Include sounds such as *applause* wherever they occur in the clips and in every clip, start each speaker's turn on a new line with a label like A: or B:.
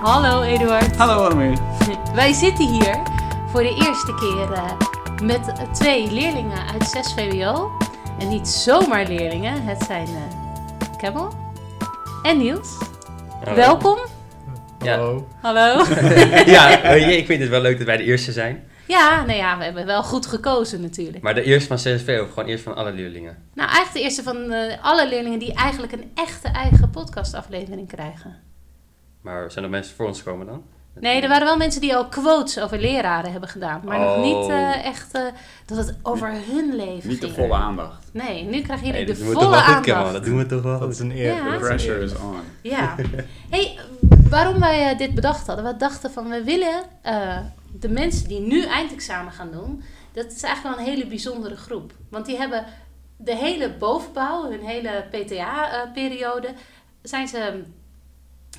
A: Hallo Eduard.
B: Hallo Annemarie.
A: Wij zitten hier voor de eerste keer eh, met twee leerlingen uit 6 VWO. En niet zomaar leerlingen, het zijn eh Kemmel en Niels. Welkom.
C: Oh. Ja.
D: Hallo.
B: *laughs*
A: Hallo.
C: *laughs*
A: *laughs*
C: Ja, weet je, ik vind het wel leuk dat wij de eerste zijn.
A: ja, nou ja, we hebben wel goed gekozen natuurlijk.
C: Maar de eerste van CSV of gewoon eerst van alle leerlingen.
A: Nou, eigenlijk de eerste van eh, alle leerlingen die eigenlijk een echte eigen podcastaflevering krijgen.
C: Maar zijn er mensen voor ons komen dan?
A: Nee, er waren wel mensen die al quotes over leraren hebben gedaan. Maar nog niet eh, echt eh, dat het over hun leven
B: Oh. Niet de
A: ging.
B: volle aandacht.
A: Nee, nu krijgen
C: Nee,
A: jullie
C: dat
A: de
C: doen we
A: volle
C: toch wel goed,
A: aandacht.
C: Kemal. Dat doen we toch wel
D: Dat is
C: goed.
D: een eer.
A: Ja.
B: The
D: Dat is een
B: pressure
D: eer.
B: is on.
D: *laughs*
A: Ja. hey, waarom wij eh, dit bedacht hadden. We dachten van, we willen eh, de mensen die nu eindexamen gaan doen... dat is eigenlijk wel een hele bijzondere groep. Want die hebben de hele bovenbouw, hun hele PTA-periode... zijn ze...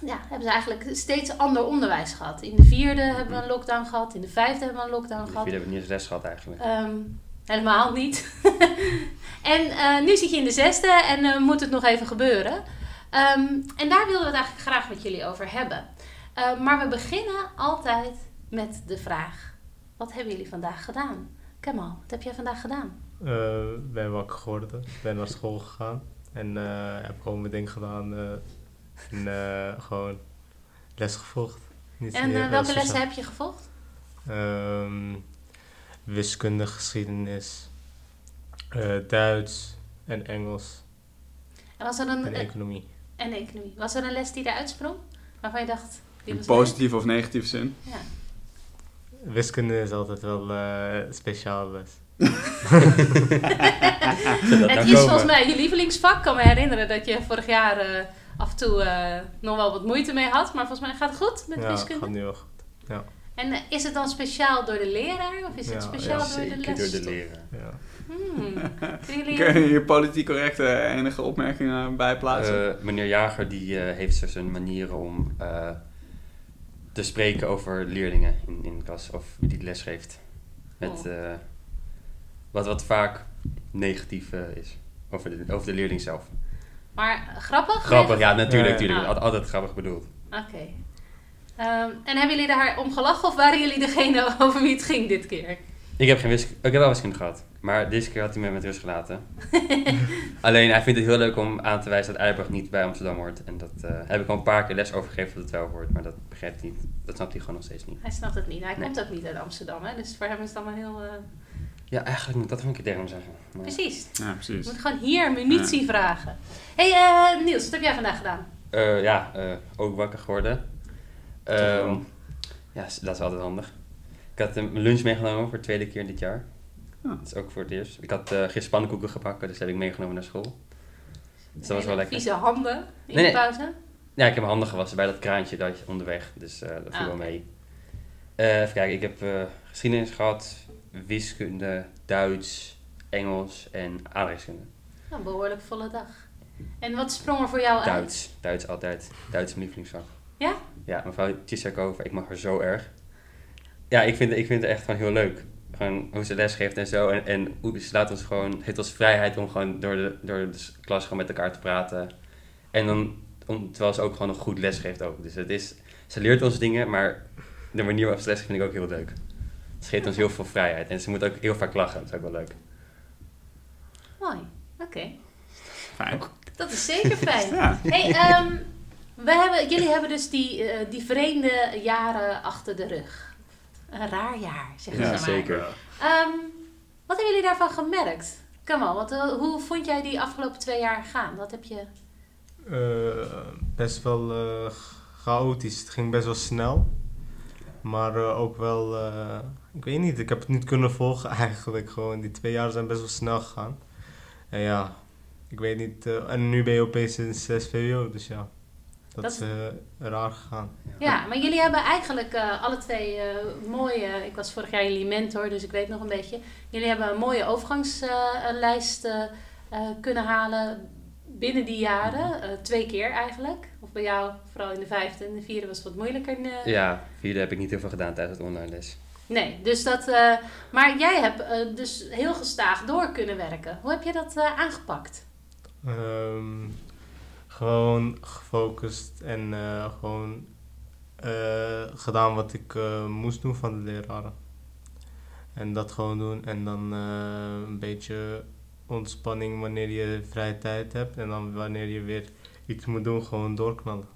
A: Ja, hebben ze eigenlijk steeds ander onderwijs gehad. In de vierde hebben we een lockdown gehad. In de vijfde hebben we een lockdown
C: Jullie
A: gehad.
C: hebben niet eens les gehad eigenlijk.
A: Ehm, helemaal niet. *laughs* en eh, nu zit je in de zesde en eh, moet het nog even gebeuren. Ehm, en daar wilden we het eigenlijk graag met jullie over hebben. Eh, maar we beginnen altijd met de vraag: wat hebben jullie vandaag gedaan? Kemal, wat heb jij vandaag gedaan?
D: Eh, ben wakker geworden. Ben naar school gegaan. En eh, heb gewoon mijn ding gedaan. eh, en eh, gewoon les gevolgd. Niet
A: En
D: meer,
A: eh,
D: eh,
A: welke
D: sociaal.
A: lessen heb je gevolgd?
D: Ehm, wiskunde, geschiedenis, eh, Duits en Engels
A: En was er een,
D: en
A: eh,
D: economie.
A: en economie. Was er een les die eruit sprong? Waarvan je dacht: die
B: In
A: was
B: positieve of negatieve zin.
A: leuk? Ja.
D: Wiskunde is altijd wel eh speciaal les.
C: Zou
A: Het
C: dat nou
A: is
C: komen?
A: volgens mij je lievelingsvak. Ik kan me herinneren dat je vorig jaar eh, af en toe eh, nog wel wat moeite mee had. Maar volgens mij gaat het goed met
D: ja,
A: wiskunde.
D: gaat nu wel goed.
A: En eh, is het dan speciaal door de leraar? Of is
D: Ja,
A: het speciaal
D: ja,
A: door de
C: Zeker
A: les?
C: door de leraar.
D: Ja.
A: Hmm. Kunnen jullie-
B: *laughs* Kun je hier politiek correcte enige opmerkingen bij plaatsen?
C: Eh, meneer Jager die eh, heeft zo zijn manieren om eh, te spreken over leerlingen in, in de klas of wie die les geeft. Met,
A: Oh.
C: eh, wat, wat vaak negatief eh, is over de, over de leerling zelf.
A: Maar eh, grappig?
C: Grappig, ja, natuurlijk.
D: Ja, ja.
C: natuurlijk. Al- Altijd grappig bedoeld.
A: Oké. Ehm, en hebben jullie daar om gelachen of waren jullie degene *laughs* over wie het ging dit keer?
C: Ik heb, geen wiskunde, ik heb wel wiskunde gehad, maar deze keer had hij me met rust gelaten. Alleen hij vindt het heel leuk om aan te wijzen dat Eiburg niet bij Amsterdam hoort. En dat eh, heb ik al een paar keer les overgegeven dat het wel hoort, maar dat begrijpt hij niet. Dat snapt hij gewoon nog steeds niet.
A: Hij snapt het niet. Hij
C: Nee.
A: komt ook niet uit Amsterdam, hè? dus voor hem is het allemaal heel... eh,
C: Ja, eigenlijk moet ik dat nog een keer tegen hem zeggen. Maar-
A: Precies.
B: Ja,
A: Je
B: precies.
A: moet gewoon hier munitie vragen. hey, eh, Niels, wat heb jij vandaag gedaan?
C: Eh, ja, eh, ook wakker geworden. Ehm, ja, s- dat is altijd handig. Ik had een lunch meegenomen voor de tweede keer dit jaar.
B: Ah.
C: Dat is ook voor het eerst. Ik had eh gisteren pannenkoeken gebakken, dus die heb ik meegenomen naar school. Dus dat was wel
A: Hele
C: lekker.
A: Vieze handen in
C: Nee,
A: de
C: nee.
A: pauze.
C: Ja, ik heb mijn handen gewassen bij dat kraantje dat je onderweg, dus eh, dat viel
A: Ah,
C: wel
A: oké.
C: mee. Eh, even kijken, ik heb eh, geschiedenis gehad, wiskunde, Duits, Engels en aardrijkskunde.
A: Ja, Een Nou, behoorlijk volle dag. En wat sprong er voor jou uit?
C: Duits, Duits altijd. Duits is mijn lievelingsvak.
A: Ja?
C: Ja, mevrouw Tjissakova, ik mag haar zo erg. Ja, ik vind, ik vind het echt gewoon heel leuk. Gewoon hoe ze les geeft en zo. En, en hoe ze laat ons gewoon, heeft ons vrijheid om gewoon door de, door de s- klas gewoon met elkaar te praten. En dan, om, terwijl ze ook gewoon een goed les geeft ook. Dus het is, ze leert ons dingen, maar de manier waarop ze les geeft vind ik ook heel leuk. Ze geeft ons heel veel vrijheid. En ze moet ook heel vaak lachen, dat is ook wel leuk.
A: Mooi. Oké.
B: Fijn.
A: Dat is zeker
C: *laughs*
A: fijn.
B: Ja.
A: Hey, ehm, we hebben, jullie hebben dus die, eh, die vreemde jaren achter de rug. Een raar jaar, zeggen
B: Ja,
A: ze maar. Ehm, wat hebben jullie daarvan gemerkt? Kom al, wat, eh, hoe vond jij die afgelopen twee jaar gaan? Wat heb je...
D: Eh, best wel eh, chaotisch. Het ging best wel snel. Maar eh, ook wel, eh, ik weet niet, ik heb het niet kunnen volgen *laughs* eigenlijk. Gewoon die twee jaar zijn best wel snel gegaan. En ja, ik weet niet. eh, en nu ben je opeens in 6 VWO, dus ja. Dat,
A: Dat-
D: is eh, raar gegaan.
A: Ja, maar jullie hebben eigenlijk eh, alle twee eh, mooie... Ik was vorig jaar jullie mentor, dus ik weet nog een beetje. Jullie hebben een mooie overgangslijst eh, eh, kunnen halen binnen die jaren. Eh, twee keer eigenlijk. Of bij jou vooral in de vijfde. en de vierde was het wat moeilijker. eh,
C: Ja, vierde heb ik niet heel veel gedaan tijdens het online les.
A: Nee, dus dat. eh, maar jij hebt eh, dus heel gestaag door kunnen werken. Hoe heb je dat eh, aangepakt?
D: Ehm, gewoon gefocust en eh, gewoon eh, eh, gedaan wat ik eh, moest doen van de leraren. En dat gewoon doen en dan eh, een beetje ontspanning wanneer je vrije tijd hebt. En dan wanneer je weer iets moet doen, gewoon doorknallen.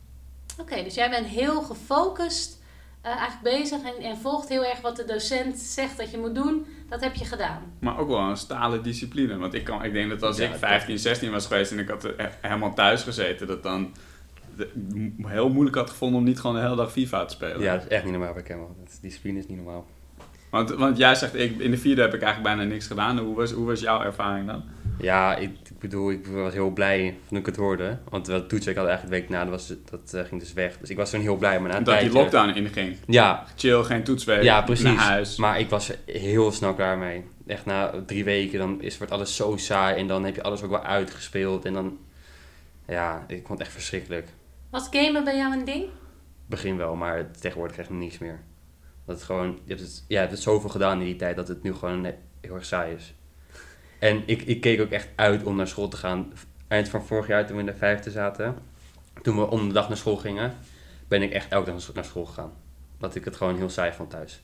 A: Oké, dus jij bent heel gefocust eh, eigenlijk bezig en, en volgt heel erg wat de docent zegt dat je moet doen. Dat heb je gedaan.
B: Maar ook wel een stalen discipline. Want ik, kan, ik denk dat als
C: Ja,
B: ik 15, 16 was geweest en ik had eh, helemaal thuis gezeten, dat dan de- m- heel moeilijk had gevonden om niet gewoon de hele dag FIFA te spelen.
C: Ja, dat is echt niet normaal bij Kemal. Dat- Discipline is niet normaal.
B: Want, want jij zegt, ik, in de vierde heb ik eigenlijk bijna niks gedaan. Hoe was, hoe was jouw ervaring dan?
C: Ja, ik, ik bedoel, ik was heel blij toen ik het hoorde. Want wel toetsen ik had eigenlijk de week na, dat, was, dat eh, ging dus weg. Dus ik was toen heel blij, maar na een
B: dat die
C: tijdje-
B: lockdown inging.
C: Ja,
B: Chill, geen toetsweek,
C: eh, ja, precies.
B: naar huis.
C: Maar ik was er heel snel klaar mee. Echt na drie weken, dan is, wordt alles zo saai. En dan heb je alles ook wel uitgespeeld. En dan... Ja, ik vond het echt verschrikkelijk.
A: Was gamen bij jou een ding?
C: Begin wel, maar tegenwoordig echt niks meer. Dat het gewoon... Je hebt het, ja, je hebt het zoveel gedaan in die tijd, dat het nu gewoon heel erg saai is. En ik, ik keek ook echt uit om naar school te gaan. Eind van vorig jaar, toen we in de vijfde zaten... Toen we om de dag naar school gingen... Ben ik echt elke dag naar school- naar school gegaan. Dat ik het gewoon heel saai vond thuis.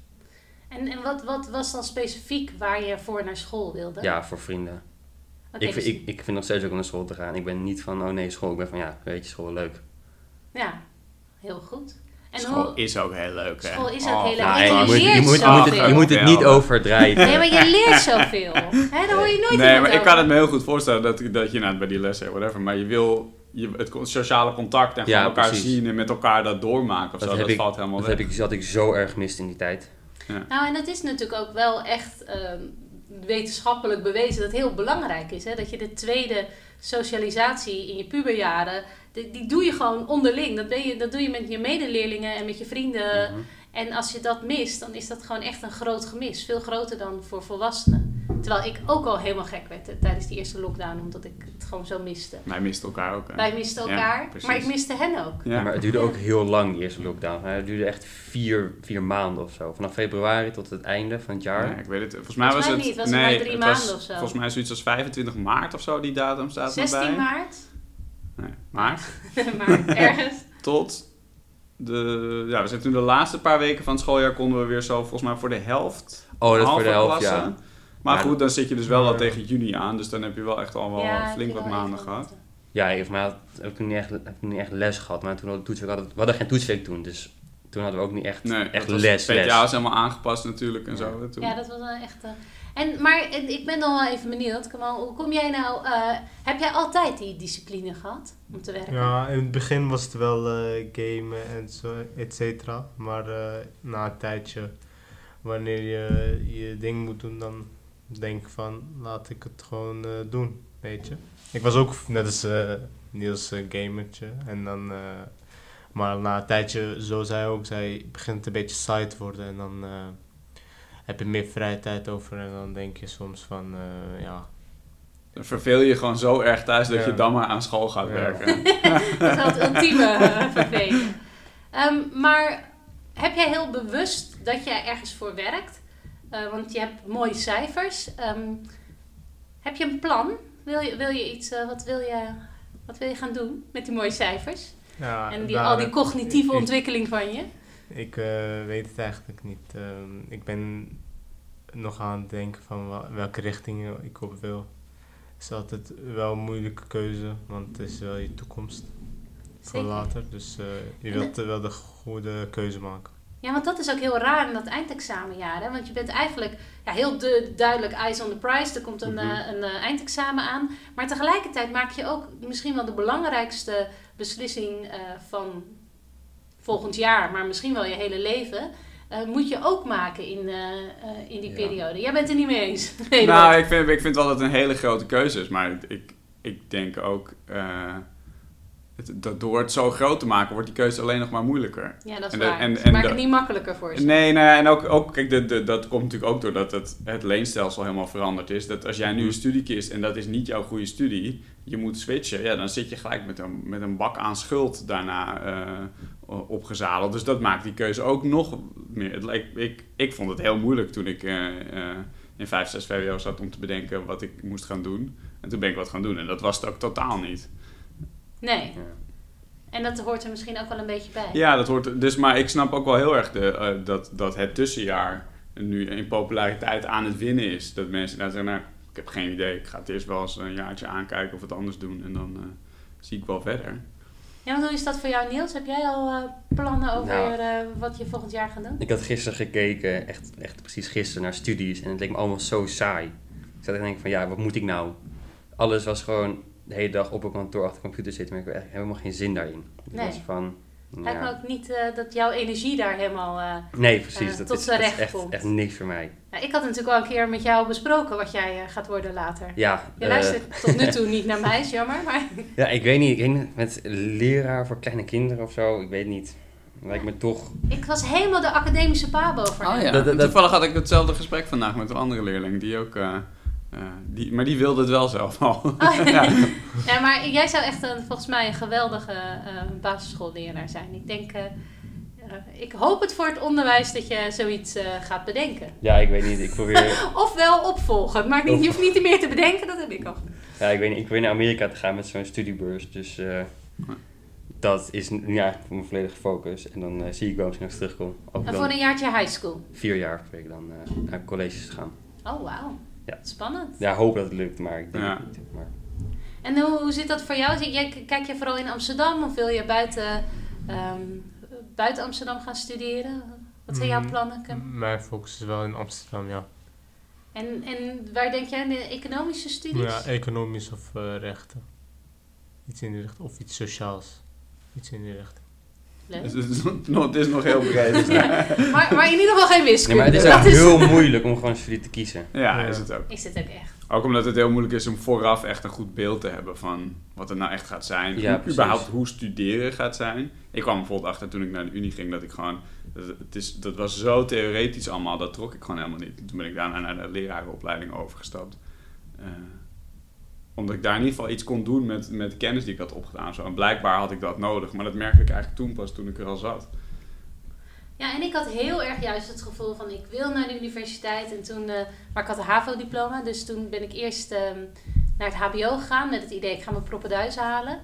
A: En, en wat, wat was dan specifiek waar je voor naar school wilde?
C: Ja, voor vrienden.
A: Oké,
C: Ik,
A: dus-
C: vind- ik, ik vind nog steeds ook om naar school te gaan. Ik ben niet van, oh nee, school. Ik ben van, ja, weet je, school, leuk.
A: ja, heel goed. En
B: school
A: hoe,
B: is ook heel leuk, hè? Oh,
A: School is ook heel leuk.
C: Nou,
A: je
C: je, moet, je,
A: leert
C: moet, je,
A: zoveel.
C: moet het, je moet het niet overdrijven.
A: Nee, maar je leert
B: *laughs*
A: zoveel. Hè, daar hoor je nooit
B: Nee,
A: iemand
B: maar ik
A: over.
B: kan het me heel goed voorstellen dat, dat je nou, bij die lessen, whatever, maar je wil je, het con- sociale contact en gewoon
C: Ja,
B: elkaar
C: precies.
B: zien en met elkaar dat doormaken of zo,
C: Dat, heb
B: *laughs* dat
C: ik,
B: valt helemaal
C: dat
B: weg.
C: heb ik, had ik zo erg gemist in die tijd.
A: Nou, en dat is natuurlijk ook wel echt ehm, wetenschappelijk bewezen dat het heel belangrijk is. Hè? Dat je de tweede socialisatie in je puberjaren, die, die doe je gewoon onderling. Dat, ben je, dat doe je met je medeleerlingen en met je vrienden.
C: Mhm.
A: En als je dat mist, dan is dat gewoon echt een groot gemis. Veel groter dan voor volwassenen. Terwijl ik ook al helemaal gek werd eh, tijdens die eerste lockdown, omdat ik het gewoon zo miste.
B: Wij misten elkaar ook. hè?
A: Wij misten
B: Ja,
A: elkaar,
B: precies.
A: maar ik miste hen ook.
B: Ja.
C: Maar het duurde ook heel lang, die eerste lockdown. Het duurde echt vier, vier maanden of zo. Vanaf februari tot het einde van het jaar.
B: Ja, ik weet het. Volgens mij
A: Volgens
B: was
A: mij
B: het.
A: niet, was het
B: nee,
A: maar drie
B: was
A: maanden of zo.
B: Volgens mij zoiets als 25 maart of zo, die datum staat erbij.
A: 16
B: *laughs*
A: maart, *laughs*
B: Nee, maart.
A: maar ergens.
B: Tot de. Ja, we zijn toen de laatste paar weken van het schooljaar konden we weer zo, volgens mij voor de helft.
C: Oh, dat is voor
B: halve
C: de helft,
B: klassen.
C: ja.
B: Maar
C: Ja,
B: goed, dan zit je dus wel al
D: Ja.
B: tegen juni aan, dus dan heb je wel echt al wel
A: Ja,
B: flink
A: heb je
B: wat
A: wel
B: maanden
A: even eh,
B: gehad.
C: Ja, ik maar had, heb ik toen niet echt, heb ik niet echt les gehad. Maar toen hadden we, toetsweek, hadden, we we hadden geen toetsweek toen. Dus toen hadden we ook niet echt,
B: Nee,
C: echt
B: dat was-
C: les. les.
B: PTA is helemaal aangepast natuurlijk en
C: Ja.
B: zo. hè, Toen.
A: Ja, dat was wel echt. eh, en, maar en ik ben dan wel even benieuwd, Kamal, hoe kom jij nou. eh, heb jij altijd die discipline gehad om te werken?
D: Ja, in het begin was het wel eh, gamen en zo, et cetera. Maar eh, na een tijdje, wanneer je je ding moet doen, dan denk ik van, laat ik het gewoon eh, doen, weet je. Ik was ook net als eh, Niels een gamertje. En dan, eh, maar na een tijdje, zo zei hij ook, zij begint het een beetje saai te worden. En dan eh, heb je meer vrije tijd over en dan denk je soms van, eh, ja...
B: Dan verveel je gewoon zo erg thuis dat
D: Ja.
B: je dan maar aan school gaat
D: Ja.
B: werken.
A: Dat is wel het ultieme eh, vervelen. Ehm, maar heb jij heel bewust dat jij ergens voor werkt? Eh, want je hebt mooie cijfers. Ehm, heb je een plan? Wil je, wil je iets, eh, wat, wil je, wat wil je gaan doen met die mooie cijfers?
D: ja
A: en die,
D: daar-
A: al die cognitieve
D: ik-
A: ontwikkeling van je?
D: Ik eh, weet het eigenlijk niet. Ehm, ik ben nog aan het denken van wa- welke richting ik op wil. Het is altijd wel een moeilijke keuze, want het is wel je toekomst voor later. Dus eh, je
A: En
D: wilt eh, wel de goede keuze maken.
A: Ja, want dat is ook heel raar in dat eindexamenjaar. Hè? Want je bent eigenlijk ja, heel du- duidelijk eyes on the prize. Er komt een,
C: Mhm.
A: eh, een eh, eindexamen aan. Maar tegelijkertijd maak je ook misschien wel de belangrijkste beslissing eh, van volgend jaar, maar misschien wel je hele leven. eh, moet je ook maken in, eh, eh, in die
C: Ja.
A: periode. Jij bent het er niet mee eens. *laughs* Nee,
B: nou,
A: dat-
B: ik vind, ik vind wel dat het een hele grote keuze is, maar ik, ik denk ook eh, het- dat door het zo groot te maken wordt die keuze alleen nog maar moeilijker.
A: ja, dat is
B: en de-
A: waar.
B: en-
A: Ze
B: en
A: maken
B: de-
A: het niet makkelijker voor ze.
B: Nee, nou ja, en ook, ook kijk, de, de- dat komt natuurlijk ook doordat het, het leenstelsel helemaal veranderd is. Dat als jij nu een studie kiest en dat is niet jouw goede studie, je moet switchen, ja, dan zit je gelijk met een, met een bak aan schuld daarna eh, opgezadeld. Dus dat maakt die keuze ook nog meer. Het lijkt- ik, ik vond het heel moeilijk toen ik eh, eh, in 5, 6 VWO zat om te bedenken wat ik moest gaan doen. En toen ben ik wat gaan doen en dat was het ook totaal niet.
A: Nee.
C: Ja.
A: En dat hoort er misschien ook wel een beetje bij.
B: Ja, dat hoort. Dus, maar ik snap ook wel heel erg de, eh, dat, dat het tussenjaar nu in populariteit aan het winnen is. Dat mensen daar zeggen, nou, ik heb geen idee. Ik ga het eerst wel eens een jaartje aankijken of het anders doen. En dan eh, zie ik wel verder.
A: Ja, want hoe is dat voor jou, Niels? Heb jij al eh, plannen over
C: Nou.
A: eh, wat je volgend jaar gaat doen?
C: Ik had gisteren gekeken, echt, echt precies gisteren, naar studies. En het leek me allemaal zo saai. Ik zat echt te denken van, ja, wat moet ik nou? Alles was gewoon de hele dag op een kantoor achter de computer zitten. Maar ik heb echt helemaal geen zin daarin. Ik
A: Nee.
C: was van...
A: Lijkt
C: ja.
A: me ook niet eh, dat jouw energie daar helemaal... eh,
C: Nee, precies.
A: eh,
C: dat
A: tot
C: is,
A: z'n
C: dat is
A: recht
C: echt,
A: komt.
C: echt niks voor mij.
A: Nou, ik had natuurlijk al een keer met jou besproken wat jij eh, gaat worden later.
C: Ja,
A: Je
C: eh,
A: luistert tot nu toe niet naar mij, is jammer. Maar
C: ja, ik weet niet. Ik weet niet, met leraar voor kleine kinderen of zo, ik weet niet. Lijkt me toch...
A: ik was helemaal de academische pabo voor hem.
B: Oh ja,
C: Dat- dat-
B: toevallig had ik hetzelfde gesprek vandaag met een andere leerling. Die ook, eh, eh, die, maar die wilde het wel zelf *laughs* al.
A: *laughs* Oh, ja. Ja, maar jij zou echt een, volgens mij een geweldige eh, basisschoolleraar zijn. Ik denk, eh, eh, ik hoop het voor het onderwijs dat je zoiets eh, gaat bedenken.
C: Ja, ik weet niet. Ik
A: *laughs*
C: probeer...
A: Ofwel opvolgen, maar niet, je hoeft niet meer te bedenken, dat heb ik al.
C: ja, ik weet niet. Ik probeer naar Amerika te gaan met zo'n studiebeurs. Dus eh, dat is nu eigenlijk mijn volledige focus. En dan eh, zie ik wel misschien als ik terugkom. Ook
A: En
C: dan
A: voor een jaartje high school.
C: vier jaar probeer ik dan eh, naar colleges te gaan.
A: Oh, wauw.
C: Ja.
A: Spannend.
C: Ja, hoop dat het lukt, maar ik denk
B: Ja.
C: het niet. Maar...
A: En hoe, hoe zit dat voor jou? Zit jij- Kijk je vooral in Amsterdam of wil je buiten, ehm, buiten Amsterdam gaan studeren? Wat zijn jouw
D: Mm,
A: plannen? Kim?
D: Mijn focus is wel in Amsterdam, ja.
A: En, en waar denk jij aan? De economische studies?
D: Ja, economisch of eh, rechten. Iets in de richting. Of iets sociaals. Iets in de richting.
A: Leuk.
B: Dus het is nog- het is nog heel breed.
C: *laughs*
A: Ja. Maar, maar in ieder geval geen
C: Nee,
A: wiskunde.
C: maar het is
A: dat
C: ook
A: is...
C: heel moeilijk om gewoon een studie te kiezen.
B: Ja,
D: Ja.
B: is het ook.
A: Is het ook echt.
B: Ook omdat het heel moeilijk is om vooraf echt een goed beeld te hebben van wat het nou echt gaat zijn.
C: Ja,
B: Hoe-
C: precies.
B: überhaupt hoe studeren gaat zijn. Ik kwam bijvoorbeeld achter toen ik naar de Unie ging dat ik gewoon. Dat, het is, dat was zo theoretisch allemaal, dat trok ik gewoon helemaal niet. Toen ben ik daarna naar de lerarenopleiding overgestapt. Eh, omdat ik daar in ieder geval iets kon doen met, met de kennis die ik had opgedaan. Zo. En blijkbaar had ik dat nodig, maar dat merkte ik eigenlijk toen pas toen ik er al zat.
A: Ja, en ik had heel erg juist het gevoel van ik wil naar de universiteit. En toen, eh, maar ik had een HAVO-diploma, dus toen ben ik eerst ehm, naar het HBO gegaan met het idee ik ga mijn proppen thuis halen.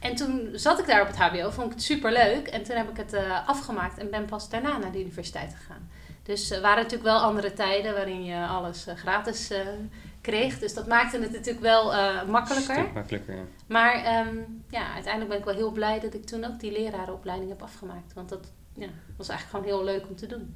A: En toen zat ik daar op het HBO, vond ik het superleuk. En toen heb ik het eh, afgemaakt en ben pas daarna naar de universiteit gegaan. Dus eh, waren natuurlijk wel andere tijden waarin je alles eh, gratis eh, kreeg. Dus dat maakte het natuurlijk wel eh, makkelijker.
C: Stuk makkelijker, ja.
A: Maar ehm, ja, uiteindelijk ben ik wel heel blij dat ik toen ook die lerarenopleiding heb afgemaakt. Want dat ja, was eigenlijk gewoon heel leuk om te doen.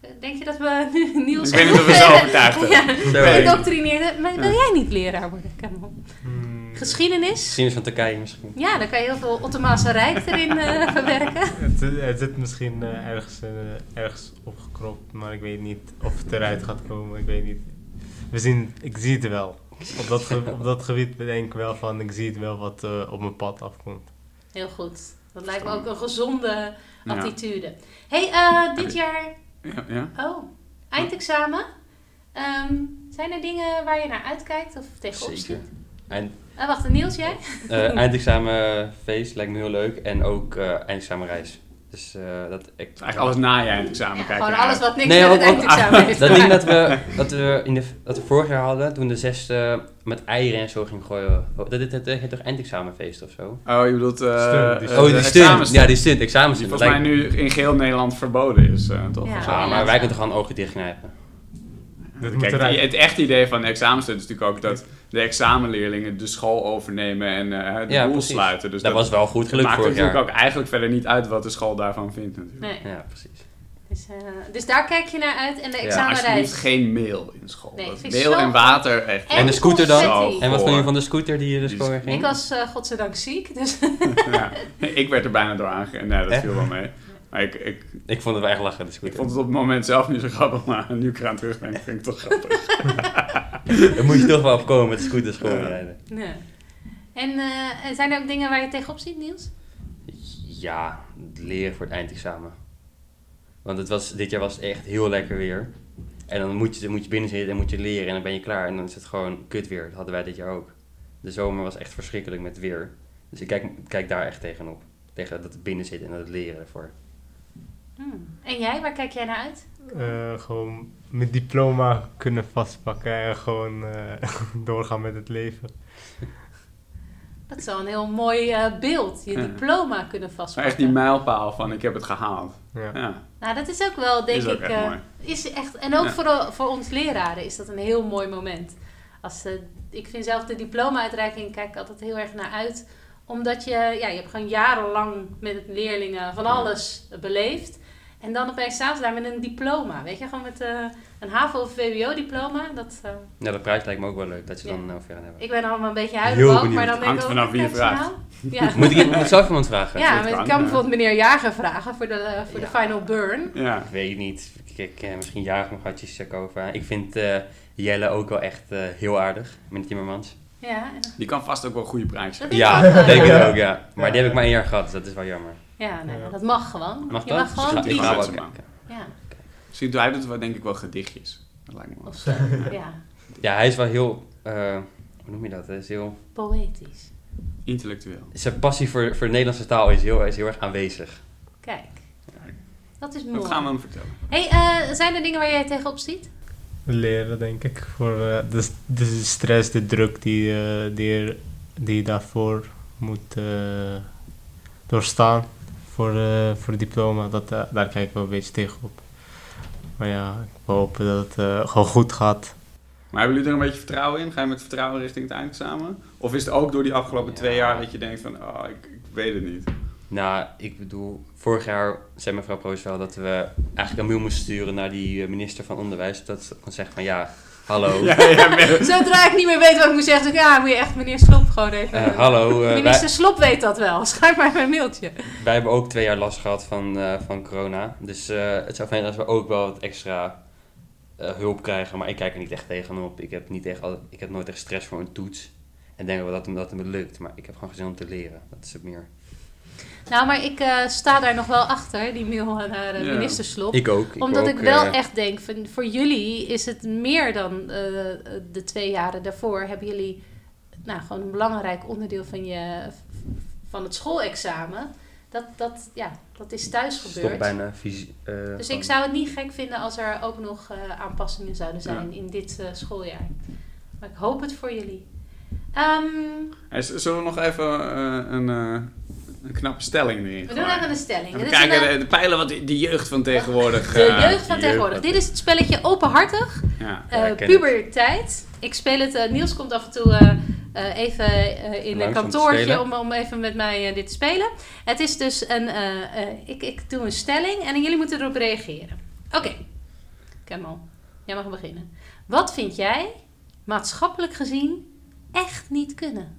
A: Eh, Denk je dat we *laughs* nu Niels...
B: Ik weet niet of we zo
A: *laughs*
B: overtuigd hebben.
A: ja,
C: Zo,
B: Nee.
C: eh,
A: gedoctrineerd. Maar wil jij niet leraar worden, Kamel? Mm.
D: Hmm,
A: Geschiedenis?
C: Geschiedenis van Turkije misschien.
A: Ja, daar kan je heel veel Ottomaanse Rijk erin eh, *laughs* verwerken.
D: het, het zit misschien eh, ergens, eh, ergens opgekropt, maar ik weet niet of het eruit gaat komen. Ik weet niet. We zien, ik zie het wel. Op dat, ge- op dat gebied bedenk ik wel van, ik zie het wel wat eh, op mijn pad afkomt.
A: Heel goed. Dat lijkt me ook een gezonde
B: Ja.
A: attitude. hey, eh, dit jaar...
B: Ja, ja.
A: Oh, eindexamen. Ehm, zijn er dingen waar je naar uitkijkt of tegenop ziet?
C: En
A: Eh, wacht, Niels, jij? *laughs*
C: Eh, eindexamenfeest lijkt me heel leuk. En ook eh, eindexamenreis. Dus eh, dat... Ik,
B: Eigenlijk alles na je eindexamen
A: Ja,
B: kijken.
A: gewoon
B: naar
A: alles
B: uit.
A: wat niks
C: Nee,
A: met het
C: want- want-
A: eindexamen heeft.
C: dat
A: te
C: ding dat
A: maken.
C: we, dat, we in de, dat we vorig jaar hadden, toen de zesde met eieren en zo ging gooien. Oh, Dat, dat, dat heet toch eindexamenfeest of zo?
B: Oh, je bedoelt... eh, eh,
D: Stunt, die stunt.
B: de
C: oh, die
B: examens-
C: stunt. Ja, die stunt. Examens.
B: Die
C: Dat
B: volgens mij
C: lijkt-
B: nu in geheel Nederland verboden is, eh, toch?
A: Ja.
B: Of zo.
C: Ja, maar wij kunnen toch gewoon ogen dichtknijpen.
D: Dat moet
B: Kijk, die-
D: eruit.
B: het echte idee van de examenstunt is natuurlijk ook dat de examenleerlingen de school overnemen en eh, de
C: Ja,
B: boel
C: precies.
B: sluiten. Dus
C: dat, was wel goed gelukt
B: maakt
C: vorig
B: natuurlijk
C: jaar.
B: ook eigenlijk verder niet uit wat de school daarvan vindt natuurlijk.
A: Nee.
C: Ja, precies.
A: Dus, eh, dus daar kijk je naar uit en de
C: Ja,
B: Alsjeblieft
A: examenreis.
B: geen meel in school.
A: Nee,
B: Dat
A: vind ik
B: meel
A: zo-
B: en water echt.
A: En
C: En de scooter dan?
A: confetti.
C: En wat vond je
B: Goor.
C: van de scooter die je dus
B: Die
C: gewoon weer ging?
A: Ik was eh, godzijdank ziek, dus *laughs*
B: Ja. Ik werd er bijna door aangegeven. Nee, dat
C: Echt?
B: viel wel mee. Maar ik, ik,
C: Ik vond het wel echt lachen, de
B: ik
C: scooter.
B: vond het op het moment zelf niet zo grappig, maar nu ik eraan terugdenk vind ik het toch grappig.
C: Daar moet je toch wel op komen met de scooters gewoon
B: Ja.
C: rijden.
A: nee. En eh, en zijn er ook dingen waar je tegenop ziet, Niels?
C: Ja, leren voor het eindexamen. Want het was, dit jaar was het echt heel lekker weer. En dan moet je, dan moet je binnen zitten en moet je leren en dan ben je klaar. En dan is het gewoon kut weer. Dat hadden wij dit jaar ook. De zomer was echt verschrikkelijk met weer. Dus ik kijk, kijk daar echt tegenop. Tegen dat het binnen zit en dat het leren ervoor.
A: Hmm. En jij, waar kijk jij naar uit?
D: Eh, gewoon mijn diploma *laughs* kunnen vastpakken en gewoon eh, doorgaan met het leven.
A: Dat zou een heel mooi eh, beeld, je
B: Ja.
A: diploma kunnen
B: Maar
A: vastpakken.
B: echt die mijlpaal van ik heb het gehaald.
D: Ja.
B: Ja,
A: Nou, dat is ook wel, denk
B: Is ook
A: ik.
B: echt
A: eh,
B: mooi.
A: Is echt, en ook
B: Ja.
A: voor, voor ons leraren is dat een heel mooi moment. Als, eh, ik vind zelf de diploma-uitreiking, kijk ik altijd heel erg naar uit. Omdat je, ja, je hebt gewoon jarenlang met leerlingen van alles beleefd. En dan opeens staan ze daar met een diploma. Weet je, gewoon met eh, een HAVO of VWO-diploma. Dat, eh,
C: Ja, Nou, dat prijs lijkt me ook wel leuk dat je
A: Ja.
C: dan over aan hebt.
A: ik ben allemaal een beetje
C: Heel
A: huilenbang,
C: benieuwd.
A: maar dan denk
B: Hangt
A: ik ook...
B: vanaf wie je
A: kijk eens
B: vraagt.
A: nou. Ja.
B: *laughs*
C: Moet ik, moet ik zelf iemand vragen?
A: Ja,
B: dat
A: maar ik
B: kan,
A: kan
B: ja.
A: bijvoorbeeld meneer Jager vragen voor de, voor de
C: Ja.
A: final burn.
B: ja.
C: Ik weet niet. Ik, eh, misschien jaag nog hartjes check over. Ik vind eh, Jelle ook wel echt eh, heel aardig. Met Timmermans.
A: Ja, en-
B: Die kan vast ook wel goede prijs
A: Dat
B: geven.
A: is
C: Ja,
A: wel
C: dat
A: leuk.
C: denk ik ook, ja. Maar
D: Ja.
C: die heb ik maar één jaar gehad, dus dat is wel jammer.
A: Ja, nee,
D: Ja.
A: dat mag gewoon.
C: Mag
A: je
C: dat?
A: mag
C: Ik ga-
A: gewoon
C: ik
A: drie.
C: ga
A: Ja,
C: wel
B: mensen
C: kijken.
B: Misschien doet hij dat wel, denk ik wel gedichtjes. Dat lijkt me wel.
A: of
B: *laughs*
A: zo. Ja,
C: Ja, hij is wel heel... eh, hoe noem je dat? Hij is heel...
A: poëtisch.
B: Intellectueel.
C: Zijn passie voor, voor de Nederlandse taal is heel, is heel erg aanwezig.
A: Kijk, dat is mooi.
B: Dat gaan we hem vertellen.
A: Hey, eh, zijn er dingen waar jij tegenop
C: *laughs*
A: ziet?
D: leren, denk ik. Voor eh, de, de stress, de druk die, eh, die, er- die je daarvoor moet eh, doorstaan voor, eh, voor het diploma. Dat, eh, daar kijk ik wel een beetje tegenop. Maar ja, ik wil hopen dat het eh, gewoon goed gaat.
B: Maar hebben jullie er een beetje vertrouwen in? Ga je met vertrouwen richting het eindexamen? Of is het ook door die afgelopen twee
C: Ja.
B: jaar dat je denkt van, oh, ik, ik weet het niet.
C: Nou, ik bedoel, vorig jaar zei mevrouw Proos wel dat we eigenlijk een mail moesten sturen naar die eh, minister van Onderwijs. Dat ze kon zeggen van ja, hallo.
B: Ja, ja, maar-
A: Zodra ik niet meer weet wat ik moet zeggen, denk ik, ja, moet je echt meneer Slop gewoon even...
C: eh, hallo, eh, wij,
A: Minister Slop weet dat wel. *laughs* Schrijf maar even een mailtje.
C: wij hebben ook twee jaar last gehad van, eh, van corona. Dus eh, het zou fijn als we ook wel wat extra eh, hulp krijgen. Maar ik kijk er niet echt tegenop. Ik heb, niet echt, al- ik heb nooit echt stress voor een toets. En denk wel dat het, dat het me lukt. Maar ik heb gewoon gezin om te leren. Dat is het meer.
A: Nou, maar ik eh, sta daar nog wel achter, die mail naar eh,
B: Ja.
A: minister Slop.
C: Ik ook. eh,
A: Omdat ik wel echt denk, van, voor jullie is het meer dan eh, de twee jaren daarvoor. Hebben jullie nou, gewoon een belangrijk onderdeel van, je, van het schoolexamen. Dat, dat, ja, dat is thuis
C: is
A: gebeurd.
C: toch bijna eh, fysiek.
A: dus ik zou het niet gek vinden als er ook nog eh, aanpassingen zouden zijn in dit eh, schooljaar. Maar ik hoop het voor jullie. Ehm,
B: Hey, z- zullen we nog even eh, een, eh, een knappe stelling erin
A: we doen
B: gooien?
A: even een stelling.
B: Even
A: Dit is
B: kijken,
A: een,
B: de, de pijlen wat die, die jeugd van tegenwoordig...
A: de
B: eh,
A: jeugd van tegenwoordig. Dit is het spelletje openhartig.
B: Ja.
C: Ja,
A: Eh,
C: ik ken
A: puberteit. Ik speel het. eh, Niels komt af en toe eh, eh, even eh, in een
C: Langs om te
A: kantoortje
C: spelen.
A: om, om even met mij eh, dit te spelen. Het is dus een. eh, eh, ik, ik doe een stelling en jullie moeten erop reageren. Oké, Kemal, jij mag beginnen. Wat vind jij maatschappelijk gezien echt niet kunnen?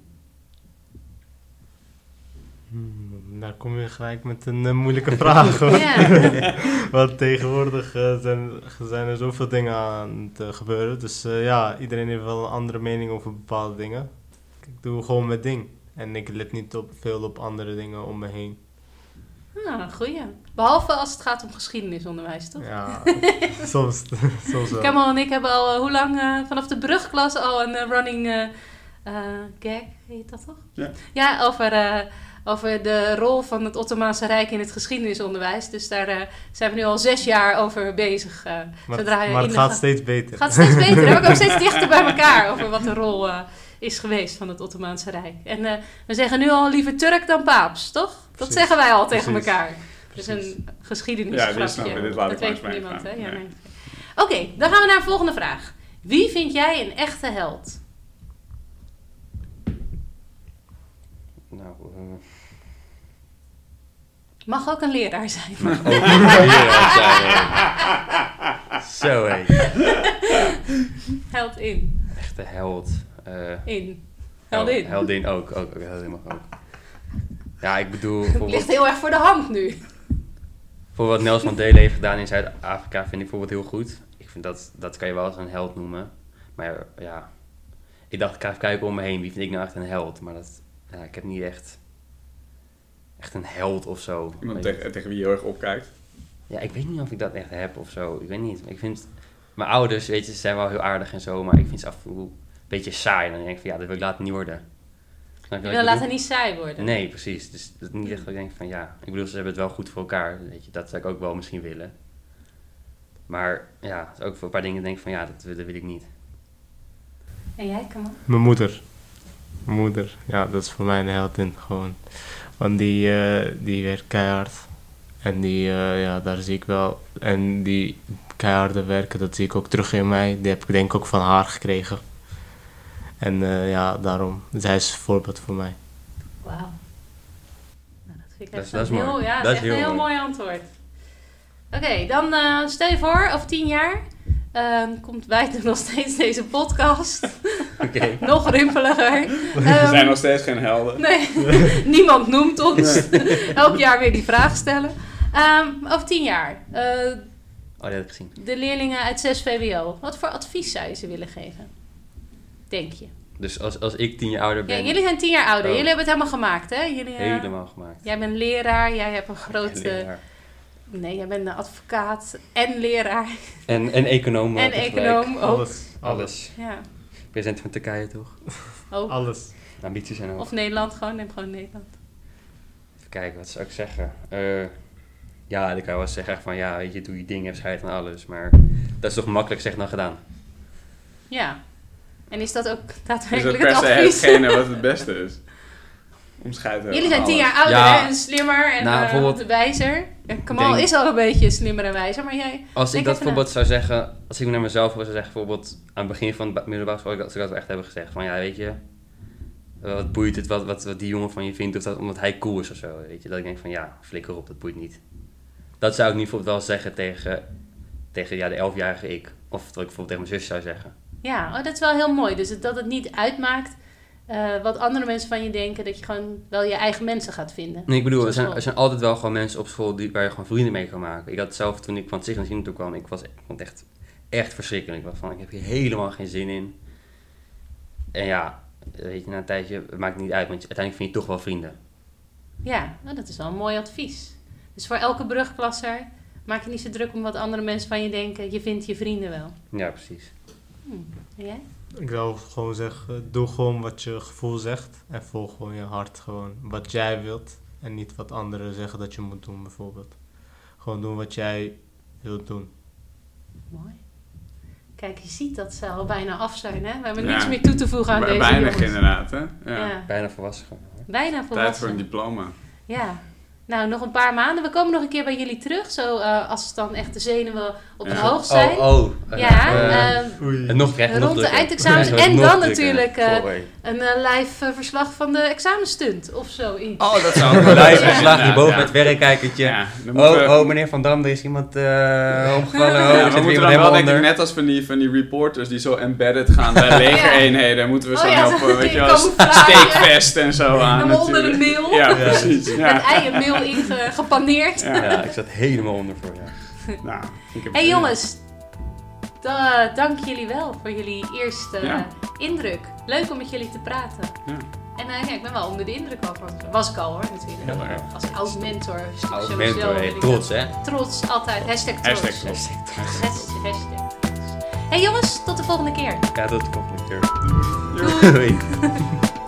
D: Hmm, daar kom je gelijk met een eh, moeilijke vraag hoor.
A: Ja.
D: *laughs* Want tegenwoordig eh, zijn, zijn er zoveel dingen aan het eh, gebeuren. Dus eh, ja, iedereen heeft wel een andere mening over bepaalde dingen. Ik doe gewoon mijn ding. En ik let niet op, veel op andere dingen om me heen.
C: Hmm.
A: Nou, een goeie. Behalve als het gaat om geschiedenisonderwijs, toch? *laughs*
D: Ja, soms, *laughs* soms wel.
A: Kemal en ik hebben al eh, hoe lang eh, vanaf de brugklas al een eh, running eh, eh, gag, heet dat toch?
B: Ja.
A: Ja, over, eh, over de rol van het Ottomaanse Rijk in het geschiedenisonderwijs. Dus daar eh, zijn we nu al zes jaar over bezig. eh,
D: Maar,
A: zodra je in
D: maar het
A: de
D: gaat
A: ga-
D: steeds beter.
A: gaat steeds beter.
D: *laughs*
A: We komen steeds dichter bij elkaar over wat de rol eh, is geweest van het Ottomaanse Rijk. En eh, we zeggen nu al liever Turk dan Paaps, toch? Dat
D: Precies.
A: zeggen wij al tegen
D: Precies.
A: elkaar. Dus
D: Precies.
A: een geschiedenisgrapje.
B: Ja, dit snap ik. Dit laat ik
A: dat weet
B: langs mij
A: niemand, hè?
B: gaan.
A: Ja,
B: Nee.
A: nee. Oké, dan gaan we naar de volgende vraag. Wie vind jij een echte held?
C: Nou, eh,
A: Mag ook een leraar zijn.
C: Oh, ook niet van leraar zijn, hè. Zo hé.
A: Held in.
C: Echte held. eh,
A: In.
C: hel-
A: Heldin.
C: Heldin ook. ook, ook heldin mag ook. Ja, ik
A: *laughs*
C: bedoel,
A: Het
C: bijvoorbeeld,
A: ligt heel erg voor de hand nu.
C: voor wat Nels Mandela heeft gedaan in Zuid-Afrika vind ik bijvoorbeeld heel goed. Ik vind dat, dat kan je wel als een held noemen. Maar ja, ik dacht, ik ga even kijken om me heen. Wie vind ik nou echt een held? Maar dat, ja, ik heb niet echt, echt een held of zo.
B: Iemand
A: Oh.
C: Weet-
B: tegen, tegen wie je heel erg opkijkt.
C: Ja, ik weet niet of ik dat echt heb of zo. Ik weet niet. Ik vind mijn ouders, weet je, ze zijn wel heel aardig en zo, maar ik vind ze af en toe een beetje saai. En dan denk ik van ja, dat wil ik later niet worden. Snap wat
A: Je
C: ik
A: wil laten
C: bedoel?
A: niet saai worden.
C: Nee, precies. Dus dat is niet echt dat ik denk van ja, ik bedoel, ze hebben het wel goed voor elkaar. Weet je, dat zou ik ook wel misschien willen. Maar ja, het is ook
A: *laughs*
C: voor een paar dingen denk ik van ja, dat, wil- dat wil ik niet.
A: En jij, Kamal?
D: Mijn moeder. moeder, ja, dat is voor mij een heldin gewoon. Want die, eh, die werkt keihard. En die, eh, ja, daar zie ik wel. En die keiharde werken, dat zie ik ook terug in mij. Die heb ik denk ik ook van haar gekregen. En eh, ja, daarom. Zij is een voorbeeld voor mij.
A: Wauw. Nou, dat vind ik
C: Dat is-
A: echt
C: dat is
A: een heel,
C: mooi.
A: Ja, dat
C: Dat
A: is
C: is
A: echt een
C: heel
A: heel mooi,
C: mooi.
A: antwoord. Oké, dan eh, stel je voor, over tien jaar ehm, komt buiten nog steeds deze podcast.
B: *laughs*
C: Oké.
A: nog rimpeliger.
B: We *laughs*
A: Ehm,
B: zijn nog steeds geen helden.
A: Nee, *laughs* niemand noemt ons. Elk jaar weer die vraag stellen. Ehm, over tien jaar, eh,
C: Oh, die had ik gezien.
A: de leerlingen uit 6 VWO, wat voor advies zou je ze willen geven? Denk je?
C: Dus als, als ik tien jaar ouder
A: Ja,
C: ben,
A: jullie zijn tien jaar ouder.
C: Oh.
A: Jullie hebben het helemaal gemaakt, hè? Jullie, eh,
C: helemaal gemaakt.
A: Jij bent leraar, jij hebt een grote...
C: Leraar.
A: Nee, jij bent een advocaat en leraar
C: En, en econoom. eh,
A: en
C: tegelijk.
A: econoom ook.
D: Alles. Alles.
C: Alles.
A: Ja,
C: President van Turkije toch?
A: ook.
D: Alles.
C: De ambities zijn hoog.
A: Of Nederland gewoon, neem gewoon Nederland.
C: Even kijken, wat zou ik zeggen? Eh, ja, ik kan wel zeggen echt van ja, weet je, doe je ding, heb scheid aan alles. Maar dat is toch makkelijk gezegd dan gedaan.
A: Ja. En is dat ook
B: Is Dus dat
A: daadwerkelijk
B: per se
A: het advies?
B: hetgene wat het beste is? Om scheid te
A: Jullie
B: hebben
A: zijn
B: aan
A: tien
B: alles.
A: jaar ouder
C: Ja.
A: hè, en slimmer en
C: Nou,
A: eh,
C: bijvoorbeeld-
A: wijzer. En Kamal
C: Denk-
A: is al een beetje slimmer en wijzer, maar jij...
C: Als
A: Denk
C: ik
A: even na.
C: dat bijvoorbeeld zou zeggen, als ik naar mezelf zou zeggen, bijvoorbeeld aan het begin van de middelbare school, dat zou ik dat wel echt hebben gezegd. Van ja, weet je, wat boeit het wat, wat, wat die jongen van je vindt, of dat omdat hij cool is of zo. Weet je, dat ik denk van ja, flikker op, dat boeit niet. Dat zou ik nu bijvoorbeeld wel zeggen tegen, tegen ja, de elfjarige ik. Of dat ik bijvoorbeeld tegen mijn zus zou zeggen.
A: Ja, oh, dat is wel heel mooi. Dus het- dat het niet uitmaakt eh, wat andere mensen van je denken, dat je gewoon wel je eigen mensen gaat vinden.
C: Nee, ik bedoel,
A: Op
C: er zijn,
A: school.
C: er zijn altijd wel gewoon mensen op school die, waar je gewoon vrienden mee kan maken. Ik had zelf toen ik van het Signal Zien toe kwam, ik was ik vond het echt, echt verschrikkelijk. Ik was van, ik heb hier helemaal geen zin in. En ja, weet je, na een tijdje, het maakt niet uit, want je- uiteindelijk vind je toch wel vrienden.
A: Ja, nou, dat is wel een mooi advies. Dus voor elke brugklasser, maak je niet zo druk om wat andere mensen van je denken. Je vindt je vrienden wel.
C: Ja, precies.
A: En jij?
D: Ik zou gewoon zeggen, doe gewoon wat je gevoel zegt. En volg gewoon je hart gewoon. Wat jij wilt. En niet wat anderen zeggen dat je moet doen bijvoorbeeld. Gewoon doen wat jij wilt doen.
A: Mooi. Kijk, je ziet dat ze al bijna af zijn, hè? We hebben
B: Ja.
A: niks meer toe te voegen aan
B: Bij-
A: deze
B: Weinig
A: jongens.
B: inderdaad, hè?
A: Ja.
B: Ja.
C: Bijna volwassen gewoon.
A: Bijna
B: Tijd voor
A: volwassen.
B: een diploma.
A: Ja. Nou, nog een paar maanden. We komen nog een keer bij jullie terug. Zo, eh, als het dan echt de zenuwen op het
B: Ja.
A: hoog zijn.
C: Oh, oh.
A: Ja,
C: Eh,
A: ehm,
C: en nog recht,
A: rond
C: nog
A: de
C: drukker.
A: eindexamens
C: Ja, het wordt
A: en
C: nog
A: dan
C: drukker.
A: natuurlijk, eh,
C: Sorry.
A: een eh, live eh, verslag van de examenstunt of zoiets.
C: Oh,
B: *laughs*
C: dat zou ook wel leuk zijn.
B: Ja,
C: Slaag die boven
B: ja.
C: het werkkijkertje.
B: Ja, dan
C: Oh,
B: moeten we-
C: oh, meneer Van Dam, er is iemand eh omgevallen. Oh,
B: Ja,
C: er zit
B: we
C: weer
B: moeten dan
C: iemand
B: wel
C: helemaal
B: denk ik
C: onder.
B: net als van die, van die reporters die zo embedded gaan
C: *laughs*
B: bij legereenheden. Moeten we
A: Oh
B: zo
A: ja,
B: helpen,
A: zo-
B: weet
A: die
B: je wel,
A: camouflage.
B: steekvest en zo aan
A: Helemaal onder de
B: natuurlijk.
A: mail.
B: Ja,
D: Ja.
B: precies.
A: *laughs* Met
B: Ja.
A: ei en meel inge- gepaneerd.
B: Ja.
C: Ja, ik zat helemaal onder voor ja.
B: Nou, ik heb
A: Hey
B: zin in.
A: jongens, da- dank jullie wel voor jullie eerste eh,
B: Ja.
A: indruk. Leuk om met jullie te praten.
B: Ja.
A: En eh, ja, ik ben wel onder de indruk al van. Was ik al hoor, natuurlijk.
C: Heel erg.
A: Als oud mentor.
C: Als
A: sowieso
C: mentor,
A: wil
C: hey,
A: ik
C: trots hè?
A: dat. Trots, altijd. Hashtag trots.
B: Hashtag trots.
A: Hashtag- hashtag trots. Hey jongens, tot de volgende keer.
C: Ja, tot de volgende keer. Doei.